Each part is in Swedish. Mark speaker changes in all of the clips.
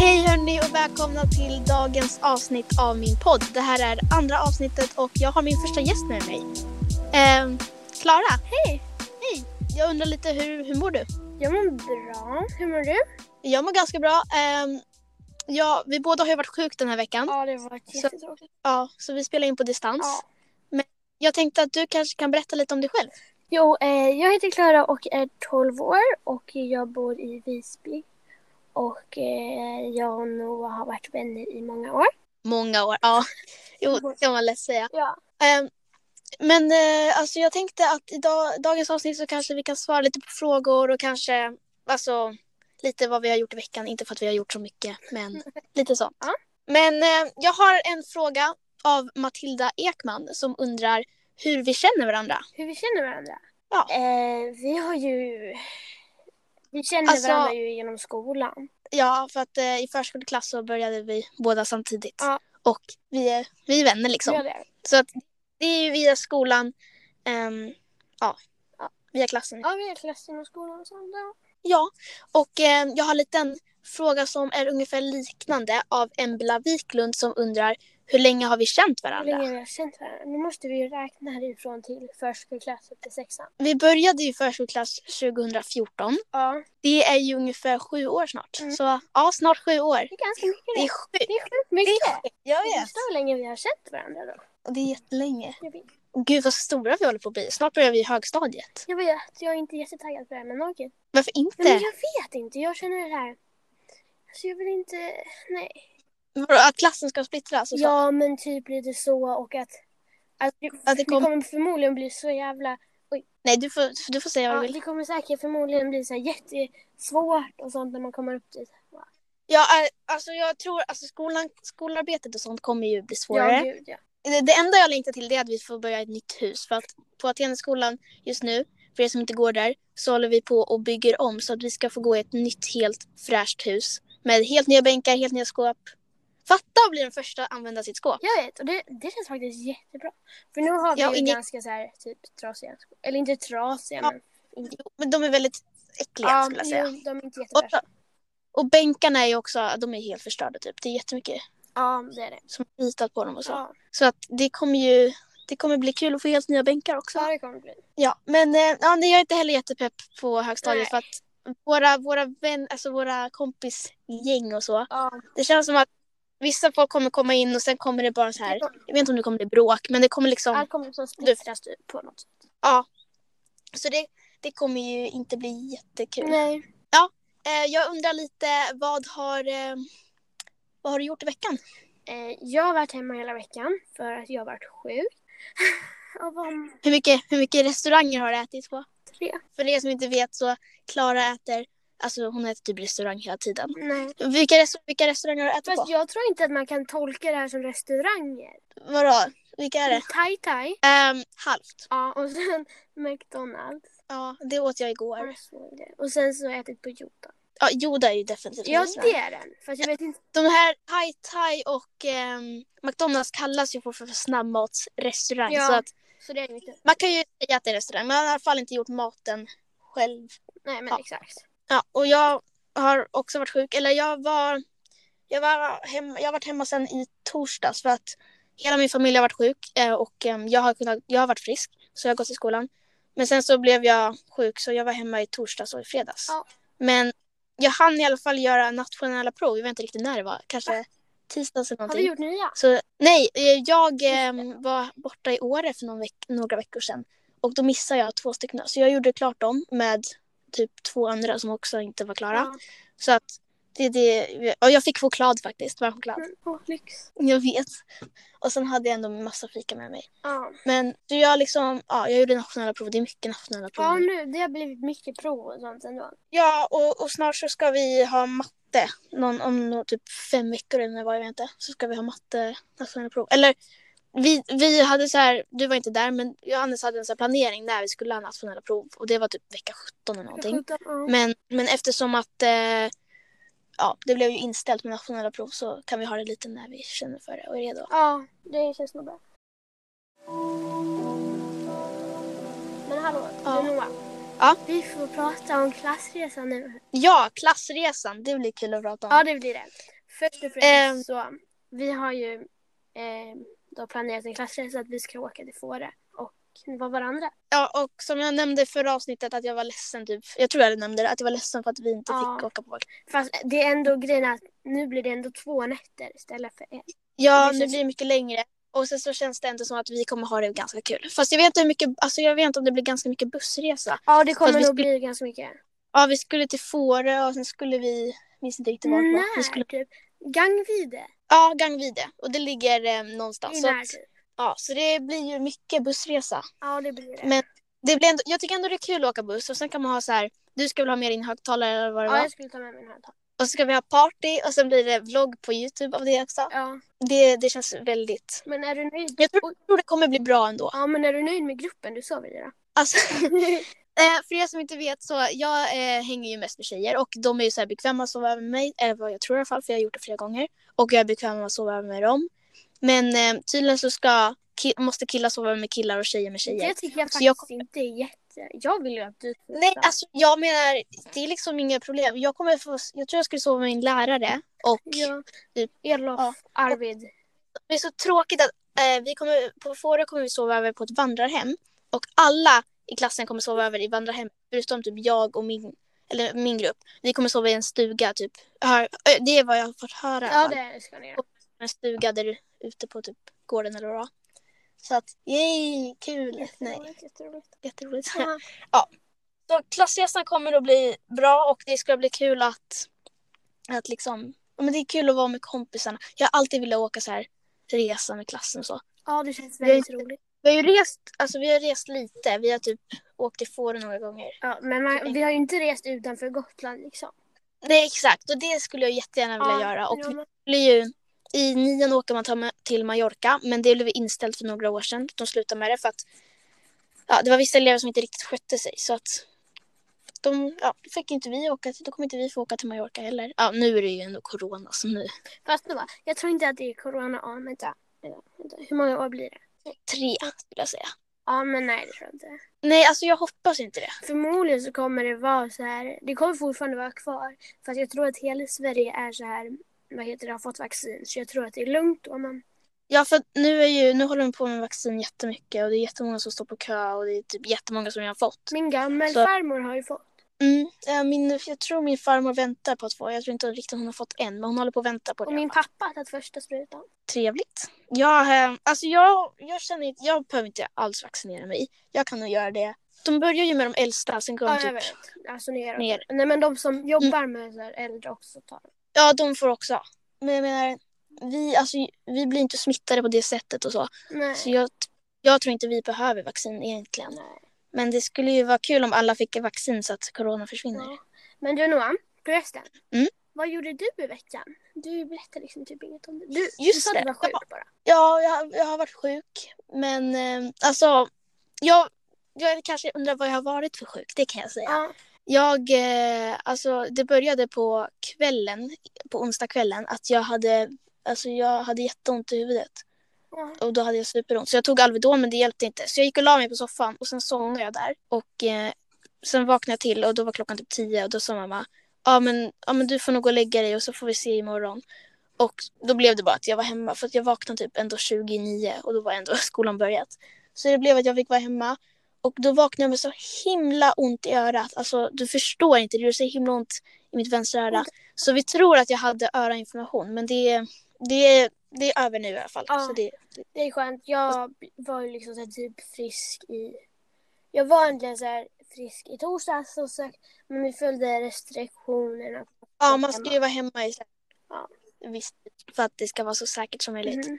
Speaker 1: Hej hörni och välkomna till dagens avsnitt av min podd. Det här är andra avsnittet och jag har min första gäst med mig. Ehm, Klara. Hej! Hej! Jag undrar lite hur, hur mår du?
Speaker 2: Jag mår bra. Hur mår du?
Speaker 1: Jag mår ganska bra. Ehm, ja, vi båda har ju varit sjuka den här veckan.
Speaker 2: Ja, det har varit
Speaker 1: Så-
Speaker 2: jättetråkigt.
Speaker 1: Ja, så vi spelar in på distans.
Speaker 2: Ja.
Speaker 1: Jag tänkte att du kanske kan berätta lite om dig själv.
Speaker 2: Jo, eh, jag heter Klara och är 12 år och jag bor i Visby. Och eh, jag och Noah har varit vänner i många år.
Speaker 1: Många år, ja. Jo, det kan man lätt säga.
Speaker 2: Mm. Ja.
Speaker 1: Ehm, men eh, alltså, jag tänkte att i dag, dagens avsnitt så kanske vi kan svara lite på frågor och kanske alltså, lite vad vi har gjort i veckan. Inte för att vi har gjort så mycket, men lite sånt.
Speaker 2: Ja.
Speaker 1: Men eh, jag har en fråga av Matilda Ekman som undrar hur vi känner varandra.
Speaker 2: Hur vi känner varandra?
Speaker 1: Ja.
Speaker 2: Eh, vi har ju... Vi känner
Speaker 1: Alltså-
Speaker 2: varandra ju genom skolan.
Speaker 1: Ja, för att eh, i förskoleklass så började vi båda samtidigt.
Speaker 2: Ja.
Speaker 1: Och vi är, vi är vänner liksom.
Speaker 2: Ja, det är vi.
Speaker 1: Så att det är ju via skolan, ehm, ja,
Speaker 2: Ja.
Speaker 1: via klassen.
Speaker 2: Ja, vi är klass genom skolan och sånt. Ja.
Speaker 1: Ja, och ehm, jag har en liten fråga som är ungefär liknande av Embla Wiklund som undrar hur länge har vi känt
Speaker 2: Hur
Speaker 1: varandra?
Speaker 2: länge vi har känt varandra. Nu måste vi ju räkna härifrån till förskoleklass upp till sexan.
Speaker 1: Vi började ju förskoleklass 2014.
Speaker 2: Ja,
Speaker 1: Det är ju ungefär sju år snart.
Speaker 2: Mm.
Speaker 1: Så ja, snart sju år.
Speaker 2: det är ganska mycket.
Speaker 1: Det är sjukt.
Speaker 2: Det är sjukt mycket.
Speaker 1: Jag
Speaker 2: Du förstår hur länge vi har känt varandra då.
Speaker 1: Det är jättelänge.
Speaker 2: Jag vet,
Speaker 1: Gud vad stora vi håller på att bli. Snart börjar vi i högstadiet.
Speaker 2: jag, vet, jag är inte jättetaggad på det här med Noggin.
Speaker 1: Varför
Speaker 2: Nej, men
Speaker 1: inte?
Speaker 2: jag vet inte, jag känner det här. Alltså jag vill inte, nej.
Speaker 1: Vadå, Att klassen ska splittras och så.
Speaker 2: Ja men typ lite så och att, att det,
Speaker 1: Att det kom-
Speaker 2: kommer förmodligen bli så jävla,
Speaker 1: Nej, du får, du får säga vad
Speaker 2: ja,
Speaker 1: du vill.
Speaker 2: det kommer säkert förmodligen bli så här jättesvårt och sånt när man kommer upp dit.
Speaker 1: Ja, eh, alltså jag tror alltså skolan, skolarbetet och sånt kommer ju bli
Speaker 2: Ja,
Speaker 1: svårare.
Speaker 2: gud, ja.
Speaker 1: det, det enda jag längtar till det är att vi får börja ett nytt hus. För att på Ateneskolan just nu, för er som inte går där, så håller vi på och bygger om så att vi ska få gå i ett nytt helt fräscht hus. Med helt nya bänkar, helt nya skåp. Fatta att bli den första att använda sitt skåp.
Speaker 2: Jag vet, och det, det känns faktiskt jättebra. För nu har vi
Speaker 1: Ja,
Speaker 2: ju
Speaker 1: ingen-
Speaker 2: ganska så här typ trasiga skor. Eller inte trasiga
Speaker 1: Ja,
Speaker 2: men.
Speaker 1: Jo, men de är väldigt äckliga skulle jag säga.
Speaker 2: jo, de är inte
Speaker 1: Och,
Speaker 2: jättebra.
Speaker 1: och bänkarna är ju också, de är helt förstörda typ. Det är jättemycket
Speaker 2: Ja, det är det.
Speaker 1: som har ritat på dem och så.
Speaker 2: Ja,
Speaker 1: Så att det kommer ju, det kommer bli kul att få helt nya bänkar också.
Speaker 2: ja det kommer bli.
Speaker 1: Ja, men eh, ja, nej, jag är inte heller jättepepp på högstadiet
Speaker 2: Nej.
Speaker 1: för att våra, våra, vän, alltså våra kompisgäng och så,
Speaker 2: Ja,
Speaker 1: det känns som att vissa folk kommer komma in och sen kommer det bara så
Speaker 2: Typ
Speaker 1: här, jag vet inte om det kommer bli bråk, men det kommer liksom,
Speaker 2: Allt kommer som splittras typ på något sätt.
Speaker 1: så det, det kommer ju inte bli jättekul.
Speaker 2: Nej.
Speaker 1: Eh, jag undrar lite, vad har, eh, vad har du gjort i veckan?
Speaker 2: Eh, jag har varit hemma hela veckan för att jag har varit sjuk. och var
Speaker 1: Hur mycket, hur mycket restauranger har du ätit på?
Speaker 2: tre.
Speaker 1: För er som inte vet så, Klara äter, alltså hon äter typ restaurang hela tiden.
Speaker 2: Nej.
Speaker 1: Vilka, restaur- vilka restauranger har du ätit
Speaker 2: Fast
Speaker 1: på?
Speaker 2: jag tror inte att man kan tolka det här som restauranger.
Speaker 1: Vadå? Vilka är det?
Speaker 2: Thai Thai.
Speaker 1: Ehm, halvt.
Speaker 2: Ja, och sen McDonalds.
Speaker 1: Ja, det åt jag igår.
Speaker 2: Jag såg det. Och sen så har jag ätit på Jota.
Speaker 1: Ja, Yoda är ju definitivt
Speaker 2: Ja,
Speaker 1: restaurang.
Speaker 2: det är den. Fast jag vet inte.
Speaker 1: De här Thai Thai och ehm, McDonalds kallas ju för, för snabbmatsrestaurang.
Speaker 2: Ja.
Speaker 1: Så att
Speaker 2: Så det är inte.
Speaker 1: man kan ju säga att det är restaurang, men man har i alla fall inte gjort maten själv.
Speaker 2: Nej, men
Speaker 1: Ja.
Speaker 2: exakt.
Speaker 1: Ja, och jag har också varit sjuk. Eller jag var... Jag, var hemma, jag har varit hemma sedan i torsdags för att hela min familj har varit sjuk eh, och ehm, jag har, kunnat, jag har varit frisk så jag har gått i skolan. Men sen så blev jag sjuk så jag var hemma i torsdags och i fredags.
Speaker 2: Ja.
Speaker 1: Men jag hann i alla fall göra nationella prov. Jag vet inte riktigt när det var. Kanske tisdags eller
Speaker 2: Har du
Speaker 1: någonting.
Speaker 2: gjort nya?
Speaker 1: Så, nej, eh, jag ehm, var borta i Åre för någon veck- några veckor sedan. Och då missade jag två stycken. Så jag gjorde klart dem med typ två andra som också inte var klara.
Speaker 2: Ja.
Speaker 1: Så att det, det, och jag fick choklad faktiskt, varm choklad.
Speaker 2: Mm, Åh, lyx.
Speaker 1: Jag vet. Och sen hade jag ändå en massa fika med mig.
Speaker 2: Ja.
Speaker 1: Men så jag liksom, ja, jag gjorde nationella prov. Det är mycket nationella prov.
Speaker 2: ja,
Speaker 1: nu.
Speaker 2: nu. Det har blivit mycket prov och sånt ändå.
Speaker 1: Ja, och, och snart så ska vi ha matte. Någon, om nå- typ fem veckor eller vad jag vet inte. Så ska vi ha matte, nationella prov. Eller vi, vi hade så här, du var inte där men jag och Anders hade en så här planering när vi skulle ha nationella prov. Och det var typ vecka 17 eller någonting.
Speaker 2: Ja.
Speaker 1: Men, men eftersom att eh, ja, det blev ju inställt med nationella prov så kan vi ha det lite när vi känner för det och är redo.
Speaker 2: Ja, det känns nog bra. Men hallå,
Speaker 1: Ja.
Speaker 2: du Noah.
Speaker 1: Ja.
Speaker 2: Vi får prata om klassresan nu.
Speaker 1: Ja, klassresan, det blir kul att prata om.
Speaker 2: Ja, det blir det. Först och
Speaker 1: Ehm.
Speaker 2: främst så, vi har ju eh, då planerat en klassresa att vi ska åka till Fårö och vara varandra.
Speaker 1: Ja, och som jag nämnde i förra avsnittet att jag var ledsen, typ, jag tror jag nämnde det, att jag var ledsen för att vi inte
Speaker 2: Ja.
Speaker 1: fick åka på vår
Speaker 2: Fast det är ändå grejen att nu blir det ändå två nätter istället för en.
Speaker 1: Ja,
Speaker 2: Det
Speaker 1: det
Speaker 2: känns-
Speaker 1: blir mycket längre. Och sen så känns det ändå som att vi kommer ha det ganska kul. Fast jag vet inte hur mycket, alltså jag vet inte om det blir ganska mycket bussresa.
Speaker 2: Ja, det
Speaker 1: Fast
Speaker 2: kommer
Speaker 1: vi
Speaker 2: nog bli ganska mycket.
Speaker 1: Ja, vi skulle till Fårö och sen skulle vi, minns inte riktigt vart det var.
Speaker 2: När
Speaker 1: Vi skulle,
Speaker 2: typ. Gangvide.
Speaker 1: ja, Gangvide. Och det ligger eh, någonstans.
Speaker 2: I
Speaker 1: Så,
Speaker 2: när
Speaker 1: att,
Speaker 2: typ.
Speaker 1: ja, så det blir ju mycket bussresa.
Speaker 2: Ja, det blir det.
Speaker 1: Men det blir ändå, jag tycker ändå det är kul att åka buss och sen kan man ha så här, du ska väl ha med din högtalare eller vad det
Speaker 2: Ja,
Speaker 1: var.
Speaker 2: jag skulle ta med mig den här.
Speaker 1: Och så ska vi ha party och sen blir det vlogg på Youtube av det också.
Speaker 2: Ja,
Speaker 1: Det, det känns väldigt,
Speaker 2: men är du nöjd?
Speaker 1: jag tror,
Speaker 2: Oj.
Speaker 1: tror det kommer bli bra ändå.
Speaker 2: Ja, men är du nöjd med gruppen du sov i då?
Speaker 1: Alltså, Eh, för er som inte vet så jag eh, hänger ju mest med tjejer och de är ju så här bekväma att sova över med mig, eller vad jag tror i alla fall för jag har gjort det flera gånger. Och jag är bekväm med att sova över med dem. Men eh, tydligen så ska, ki- måste killar sova över med killar och tjejer med tjejer.
Speaker 2: Det tycker jag
Speaker 1: Så
Speaker 2: faktiskt
Speaker 1: jag
Speaker 2: inte är jätte... Jag vill ju att du ska
Speaker 1: Nej, alltså jag menar, det är liksom inga problem. Jag kommer få, jag tror jag skulle sova med min lärare och
Speaker 2: Ja.
Speaker 1: Typ.
Speaker 2: Elof,
Speaker 1: Ja.
Speaker 2: Arvid.
Speaker 1: det är så tråkigt att eh, vi kommer, på Fårö kommer vi sova över på ett vandrarhem och alla i klassen kommer sova över i vandrarhem förutom typ jag och min, eller min grupp. Vi kommer sova i en stuga typ. Hör, ö, det är vad jag har fått höra. i alla
Speaker 2: Ja,
Speaker 1: fall.
Speaker 2: det ska ni göra.
Speaker 1: En stuga där ute på typ gården eller vad det var. Så att, yay, kul! Nej,
Speaker 2: Jätteroligt, jätteroligt.
Speaker 1: jätteroligt.
Speaker 2: Ja.
Speaker 1: Så klassresan kommer att bli bra och det ska bli kul att, att liksom, ja, men det är kul att vara med kompisarna. Jag har alltid velat åka så här resa med klassen och så.
Speaker 2: Ja, det känns
Speaker 1: Jag är
Speaker 2: väldigt roligt.
Speaker 1: Vi har ju rest, alltså vi har rest lite. Vi har typ åkt till Fårö några gånger.
Speaker 2: Ja, men man, vi har ju inte rest utanför Gotland liksom.
Speaker 1: Nej exakt, och det skulle jag jättegärna vilja göra. Och
Speaker 2: men-
Speaker 1: vi skulle ju, i nian åker man ta- till Mallorca, men det blev inställt för några år sedan. De slutade med det för att ja, det var vissa elever som inte riktigt skötte sig. Så att de, ja, då fick inte vi åka, till- då kommer inte vi få åka till Mallorca heller. Ja, nu är det ju ändå corona så nu.
Speaker 2: Fast då, jag tror inte att det är corona. Ja, vänta. Vänta, vänta. Hur många år blir det?
Speaker 1: Tre skulle jag säga.
Speaker 2: Ja, men nej det tror jag inte.
Speaker 1: Nej, alltså jag hoppas inte det.
Speaker 2: Förmodligen så kommer det vara så här. Det kommer fortfarande vara kvar. För att jag tror att hela Sverige är så här. Vad heter det? Har fått vaccin. Så jag tror att det är lugnt då. Men
Speaker 1: Ja, för att nu, är ju, nu håller de på med vaccin jättemycket och det är jättemånga som står på kö och det är typ jättemånga som jag har fått.
Speaker 2: min gammal
Speaker 1: Så-
Speaker 2: farmor har ju fått.
Speaker 1: Mm. eh, Min, jag tror min farmor väntar på att få. Jag tror inte riktigt hon har fått än, men hon håller på att vänta på det.
Speaker 2: Och min pappa har tagit första sprutan.
Speaker 1: Trevligt. Jag, eh, alltså jag, jag känner inte, jag behöver inte alls vaccinera mig. Jag kan nog göra det. De börjar ju med de äldsta, sen går de
Speaker 2: Ja, jag
Speaker 1: typ... Mm.
Speaker 2: vet. Alltså neråt.
Speaker 1: Ner.
Speaker 2: Nej, men de som jobbar med så här äldre också tar det.
Speaker 1: Ja, de får också. Men jag menar, vi, alltså, vi blir inte smittade på det sättet och så.
Speaker 2: Nej.
Speaker 1: Så jag, jag tror inte vi behöver vaccin egentligen.
Speaker 2: Nej.
Speaker 1: Men det skulle ju vara kul om alla fick vaccin så att corona försvinner.
Speaker 2: Ja. Men du Noah, förresten.
Speaker 1: Mm.
Speaker 2: Vad gjorde du i veckan? Du berättade liksom typ inget om det. Du, du
Speaker 1: Just
Speaker 2: sa
Speaker 1: det.
Speaker 2: att du var sjuk bara.
Speaker 1: Ja, jag, jag har varit sjuk. Men eh, alltså, jag, jag kanske undrar vad jag har varit för sjuk. Det kan jag säga.
Speaker 2: Ja.
Speaker 1: Jag, eh, alltså, det började på kvällen, på onsdagskvällen, att jag hade, alltså, jag hade jätteont i huvudet.
Speaker 2: ja.
Speaker 1: Och då hade jag superont. Så jag tog Alvedon men det hjälpte inte. Så jag gick och la mig på soffan och sen somnade jag där. Och eh, sen vaknade jag till och då var klockan typ tio och då sa mamma ja men, ja men du får nog gå och lägga dig och så får vi se imorgon. Och då blev det bara att jag var hemma för att jag vaknade typ ändå 29 och då var ändå skolan börjat. Så det blev att jag fick vara hemma och då vaknade jag med så himla ont i örat. Alltså du förstår inte, det gjorde så himla ont i mitt vänstra öra. Så vi tror att jag hade örainflammation men det, det, det är över nu i alla fall.
Speaker 2: Ja.
Speaker 1: Så det,
Speaker 2: Det är skönt. Jag var ju liksom så här typ frisk i... Jag var egentligen så här frisk i torsdags och så, men vi följde restriktionerna.
Speaker 1: Ja, man ska ju vara hemma i så här-
Speaker 2: Ja.
Speaker 1: Visst, för att det ska vara så säkert som möjligt.
Speaker 2: Mhm.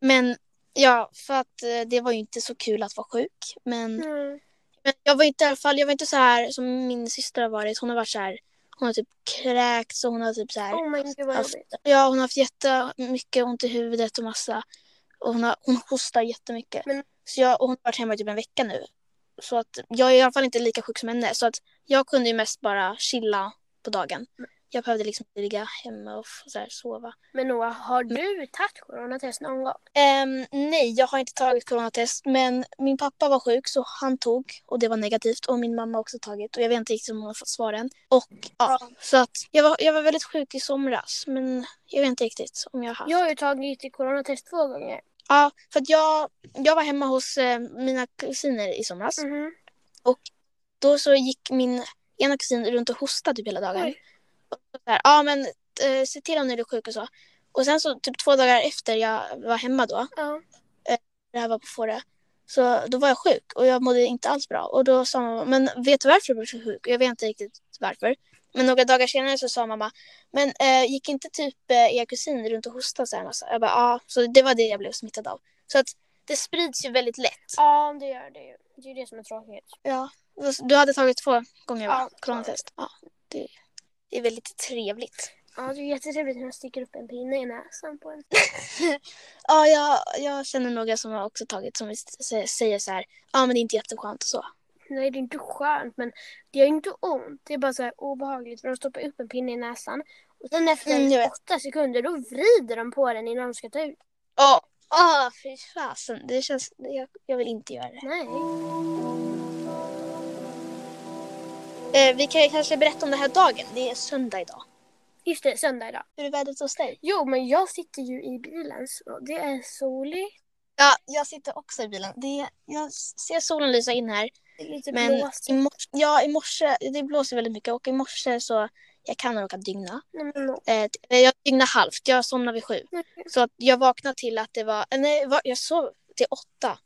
Speaker 1: Men ja, för att eh, det var ju inte så kul att vara sjuk. Men,
Speaker 2: Mm.
Speaker 1: men jag var inte i alla fall, jag var inte så här som min syster har varit. Hon har varit så här, hon har typ kräkts och hon har typ så här,
Speaker 2: Oh my god vad
Speaker 1: haft,
Speaker 2: jobbigt.
Speaker 1: ja hon har haft jättemycket ont i huvudet och massa. Och hon, har, hon hostar jättemycket.
Speaker 2: Men-
Speaker 1: Så jag, och hon har varit hemma i typ en vecka nu. Så att jag är i alla fall inte lika sjuk som henne. Så att jag kunde ju mest bara chilla på dagen. Jag behövde liksom inte ligga hemma och så här, sova.
Speaker 2: Men Noah, har du tagit coronatest någon gång?
Speaker 1: Ehm, nej, jag har inte tagit coronatest. Men min pappa var sjuk så han tog och det var negativt. Och min mamma har också tagit och jag vet inte riktigt om hon har fått svar än. Och ja, så att jag var, jag var väldigt sjuk i somras. Men jag vet inte riktigt om jag har haft.
Speaker 2: Jag har ju tagit i coronatest två gånger.
Speaker 1: Ja, för att jag, jag var hemma hos eh, mina kusiner i somras.
Speaker 2: Mhm.
Speaker 1: Då så gick min ena kusin runt och hostade typ hela dagen.
Speaker 2: Oj.
Speaker 1: Och så där, ja men eh, se till om du är sjuk och så. Och sen så typ två dagar efter jag var hemma då,
Speaker 2: Ja.
Speaker 1: det här var på Fårö, så då var jag sjuk och jag mådde inte alls bra. Och då sa mamma, men vet du varför du blev så sjuk? Och Jag vet inte riktigt varför. Men några dagar senare så sa mamma, men eh, gick inte typ eh, er kusin runt och hostade så här massa? Jag bara, ja. Så det var det jag blev smittad av. Så att det sprids ju väldigt lätt.
Speaker 2: ja, det gör det ju. Det är ju det som är tråkigt.
Speaker 1: Ja, du hade tagit två gånger va?
Speaker 2: Ja,
Speaker 1: Coronatest. Ja, det, det är väldigt trevligt.
Speaker 2: Ja, det är jättetrevligt när de sticker upp en pinne i näsan på en.
Speaker 1: Ja, jag, jag känner några som har också tagit som visst sä- säger så här, ja men det är inte jätteskönt och så.
Speaker 2: Nej, det är inte skönt, men det gör inte ont. Det är bara så här obehagligt för de stoppar upp en pinne i näsan. Och sen efter
Speaker 1: Mm, jag vet.
Speaker 2: åtta sekunder, då vrider de på den innan de ska ta ut.
Speaker 1: Ja. Ja, fy fasen. Det känns, jag, jag vill inte göra det.
Speaker 2: Nej.
Speaker 1: Eh, vi kan ju kanske berätta om den här dagen. Det är söndag idag.
Speaker 2: Just det, söndag idag.
Speaker 1: Hur är vädret hos dig?
Speaker 2: Jo, men jag sitter ju i bilen så det är soligt.
Speaker 1: Ja, jag sitter också i bilen. Det är, jag ser solen lysa in här.
Speaker 2: Det är lite
Speaker 1: Men i
Speaker 2: blåsigt.
Speaker 1: morse, ja, i morse, det blåser väldigt mycket och i morse så jag kan ha råkat dygna.
Speaker 2: Nej, men, no.
Speaker 1: Eh, t- nej, jag dygnade halvt, jag somnade vid sju.
Speaker 2: Nej.
Speaker 1: Så att jag vaknade till att det var, eh, nej va- jag sov till åtta.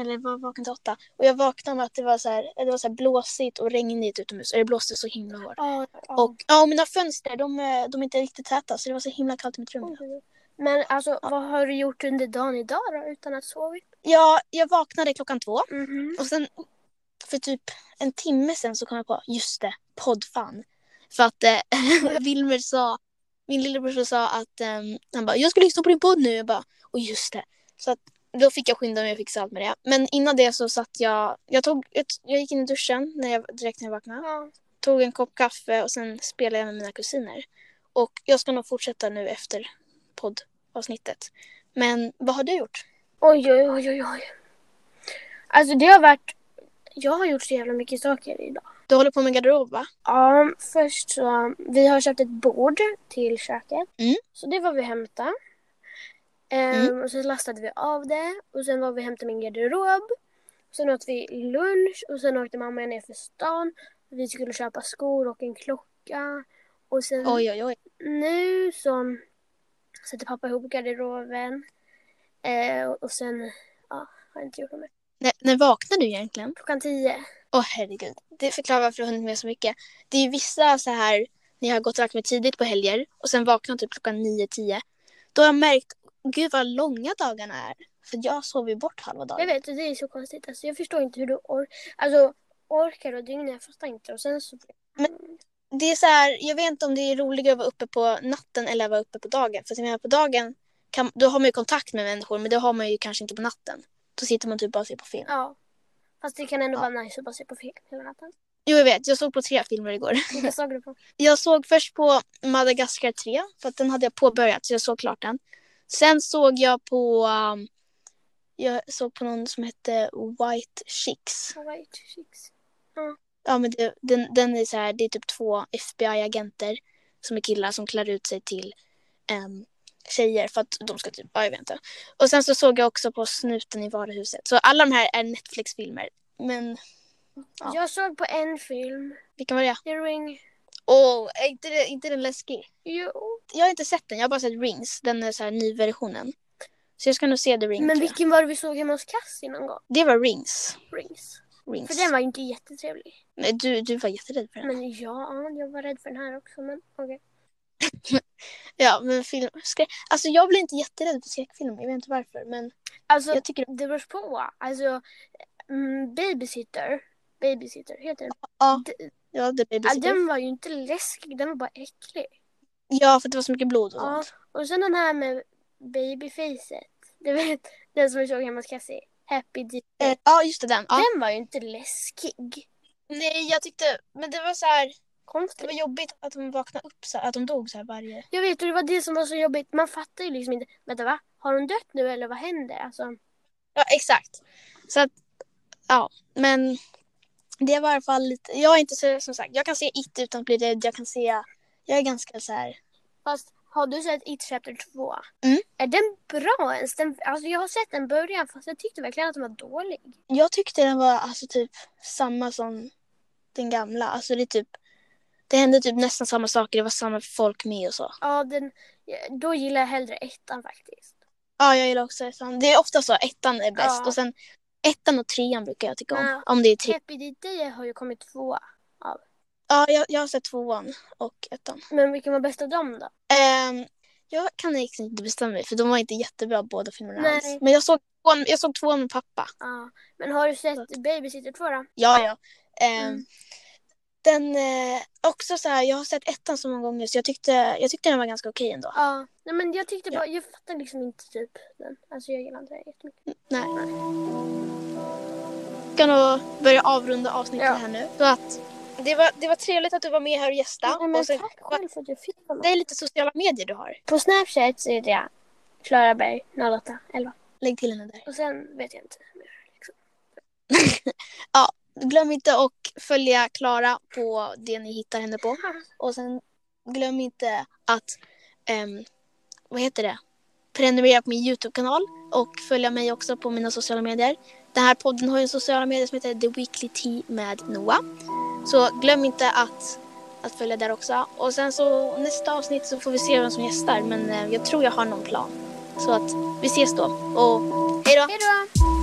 Speaker 1: Eller var vaknade till åtta. Och jag vaknade med att det var så här, det var så här blåsigt och regnigt utomhus. Och det blåste så himla hårt.
Speaker 2: Ja, ja.
Speaker 1: Och ja, och mina fönster de, eh, de är inte riktigt täta så det var så himla kallt i mitt rum.
Speaker 2: Men alltså, vad har du gjort under dagen idag då, utan att sova?
Speaker 1: Ja, jag vaknade klockan två.
Speaker 2: Mhm.
Speaker 1: Och sen för typ en timme sen så kom jag på, just det, poddfan. För att eh, Wilmer sa, min lillebror sa att ehm, han bara, jag ska lyssna på din podd nu. Jag bara, och just det. Så att då fick jag skynda mig och fixa allt med det. Men innan det så satt jag, jag, tog, jag, jag gick in i duschen när jag, direkt när jag vaknade.
Speaker 2: Ja.
Speaker 1: Tog en kopp kaffe och sen spelade jag med mina kusiner. Och jag ska nog fortsätta nu efter poddavsnittet. Men vad har du gjort?
Speaker 2: Oj, oj, oj, oj, oj. Alltså det har varit... Jag har gjort så jävla mycket saker idag.
Speaker 1: Du håller på med garderob va?
Speaker 2: Ja, först så... Vi har köpt ett bord till köket.
Speaker 1: Mm.
Speaker 2: Så det var vi hämta. Ehm, Och så lastade vi av det. Och sen var vi och hämtade min garderob. Sen åt vi lunch och sen åkte mamma ner för stan. Vi skulle köpa skor och en klocka. Och sen
Speaker 1: Oj oj oj.
Speaker 2: nu så sätter pappa ihop garderoben. Eh, och sen ja, har jag inte gjort något mer.
Speaker 1: När, när vaknade du egentligen?
Speaker 2: Klockan tio.
Speaker 1: Åh herregud, det förklarar varför jag har hunnit med så mycket. Det är ju vissa så här, när jag har gått och lagt mig tidigt på helger och sen vaknat typ klockan 9-10. Då har jag märkt, gud vad långa dagarna är. För jag sover ju bort halva
Speaker 2: Jag
Speaker 1: dagen.
Speaker 2: vet, och det är så konstigt. Alltså, jag förstår inte hur du or- alltså, orkar och dygna. Jag fattar inte. Och sen så...
Speaker 1: Det är så här, jag vet inte om det är roligare att vara uppe på natten eller att vara uppe på dagen. För att jag menar på dagen, kan, då har man ju kontakt med människor men det har man ju kanske inte på natten. Då sitter man typ bara och ser på film.
Speaker 2: Ja. Fast det kan ändå
Speaker 1: Ja.
Speaker 2: vara nice att bara se på film hela natten.
Speaker 1: Jo jag vet, jag såg på tre filmer igår.
Speaker 2: Vilka såg du på?
Speaker 1: Jag såg först på Madagaskar 3, för att den hade jag påbörjat, så jag såg klart den. Sen såg jag på... um, jag såg på någon som hette White Chicks.
Speaker 2: White Chicks.
Speaker 1: Ja, men det, den, den är så här, det är typ två FBI-agenter som är killar som klär ut sig till um, tjejer för att de ska typ... Ja, jag vet inte. Och sen så såg jag också på Snuten i varuhuset. Så alla de här är Netflix-filmer. Men Ja.
Speaker 2: Jag såg på en film.
Speaker 1: vilken var det?
Speaker 2: The Ring.
Speaker 1: Åh, är inte, det- inte den läskig?
Speaker 2: Jo.
Speaker 1: Jag har inte sett den, jag har bara sett Rings, den är så här nyversionen. Så jag ska nog se The Ring.
Speaker 2: Men
Speaker 1: tror jag.
Speaker 2: vilken var det vi såg hemma hos Cassie någon gång?
Speaker 1: Det var Rings.
Speaker 2: Rings.
Speaker 1: Rings.
Speaker 2: För den var ju inte jättetrevlig.
Speaker 1: Nej, du, du var jätterädd för den.
Speaker 2: Men ja, jag var rädd för den här också. Men okej.
Speaker 1: Ja, men film... Skrä... Alltså jag blir inte jätterädd för skräckfilmer, jag vet inte varför. Men
Speaker 2: Alltså,
Speaker 1: jag tycker...
Speaker 2: det beror på. Alltså, mm, Babysitter. Babysitter heter den.
Speaker 1: Ja.
Speaker 2: D-
Speaker 1: Ja, det blir
Speaker 2: Ja,
Speaker 1: besviken.
Speaker 2: den var ju inte läskig, den var bara äcklig.
Speaker 1: ja, för att det var så mycket blod och
Speaker 2: Ja,
Speaker 1: sånt.
Speaker 2: och sen den här med babyfacet. Du vet, den som vi såg hemma hos Cassie. Happy Deep.
Speaker 1: Eh, Ja, just det, den. Ja.
Speaker 2: Den var ju inte läskig.
Speaker 1: Nej, jag tyckte... Men det var så här... Det
Speaker 2: konstigt.
Speaker 1: var jobbigt att de vaknade upp så här, att de dog så här varje...
Speaker 2: Jag vet och det var det som var så jobbigt. Man fattar ju liksom inte. Vänta va? Har hon dött nu eller vad händer? Alltså,
Speaker 1: Ja, exakt. Så att, ja, men det var i alla fall lite... Jag är inte så, som sagt, jag kan se It utan att bli rädd. Jag kan se... Jag är ganska så här...
Speaker 2: fast har du sett It Chapter 2?
Speaker 1: Mm.
Speaker 2: Är den bra ens? Den, alltså jag har sett den början fast jag tyckte verkligen att den var dålig.
Speaker 1: Jag tyckte den var alltså typ samma som den gamla. Alltså det är typ... Det hände typ nästan samma saker. Det var samma folk med och så.
Speaker 2: Ja, den, då gillar jag hellre ettan faktiskt.
Speaker 1: Ja, jag gillar också ettan. Det är ofta så. Ettan är bäst.
Speaker 2: Ja.
Speaker 1: Och sen ettan och trean brukar jag tycka om.
Speaker 2: Ja.
Speaker 1: Om det är tre.
Speaker 2: Happy Day har ju kommit två.
Speaker 1: Ja, jag, jag har sett tvåan och ettan.
Speaker 2: Men vilken var bäst av dem då?
Speaker 1: Ehm, jag kan liksom inte bestämma mig för de var inte jättebra båda filmerna
Speaker 2: Nej.
Speaker 1: alls. Men jag såg, tvåan- jag såg tvåan med pappa.
Speaker 2: Ja. Men har du sett Babysitter 2 då?
Speaker 1: Ja, ja. Ehm,
Speaker 2: Mm.
Speaker 1: Den, eh, också så här, jag har sett ettan så många gånger så jag tyckte, jag tyckte den var ganska okej ändå.
Speaker 2: Ja. Nej men jag tyckte
Speaker 1: Ja.
Speaker 2: bara, jag fattar liksom inte typ den. Alltså jag gillar inte den jättemycket.
Speaker 1: Nej.
Speaker 2: Mm.
Speaker 1: Vi ska nog börja avrunda avsnittet
Speaker 2: Ja.
Speaker 1: här nu. Så att, det, var, det var trevligt att du var med här och gästade.
Speaker 2: Nej, men
Speaker 1: och sen,
Speaker 2: tack själv för att jag fick vara med.
Speaker 1: det är lite sociala medier du har.
Speaker 2: På Snapchat så heter jag Klaraberg0811.
Speaker 1: Lägg till henne där.
Speaker 2: Och sen vet jag inte. mer.
Speaker 1: Glöm inte att följa Klara på det ni hittar henne på. Och sen glöm inte att, ehm, vad heter det, prenumerera på min YouTube-kanal och följa mig också på mina sociala medier. Den här podden har ju en sociala medier som heter The Weekly Tea med Noah. Så glöm inte att, att följa där också. Och sen så nästa avsnitt så får vi se vem som gästar men eh, jag tror jag har någon plan. Så att vi ses då och hej då!
Speaker 2: Hej då!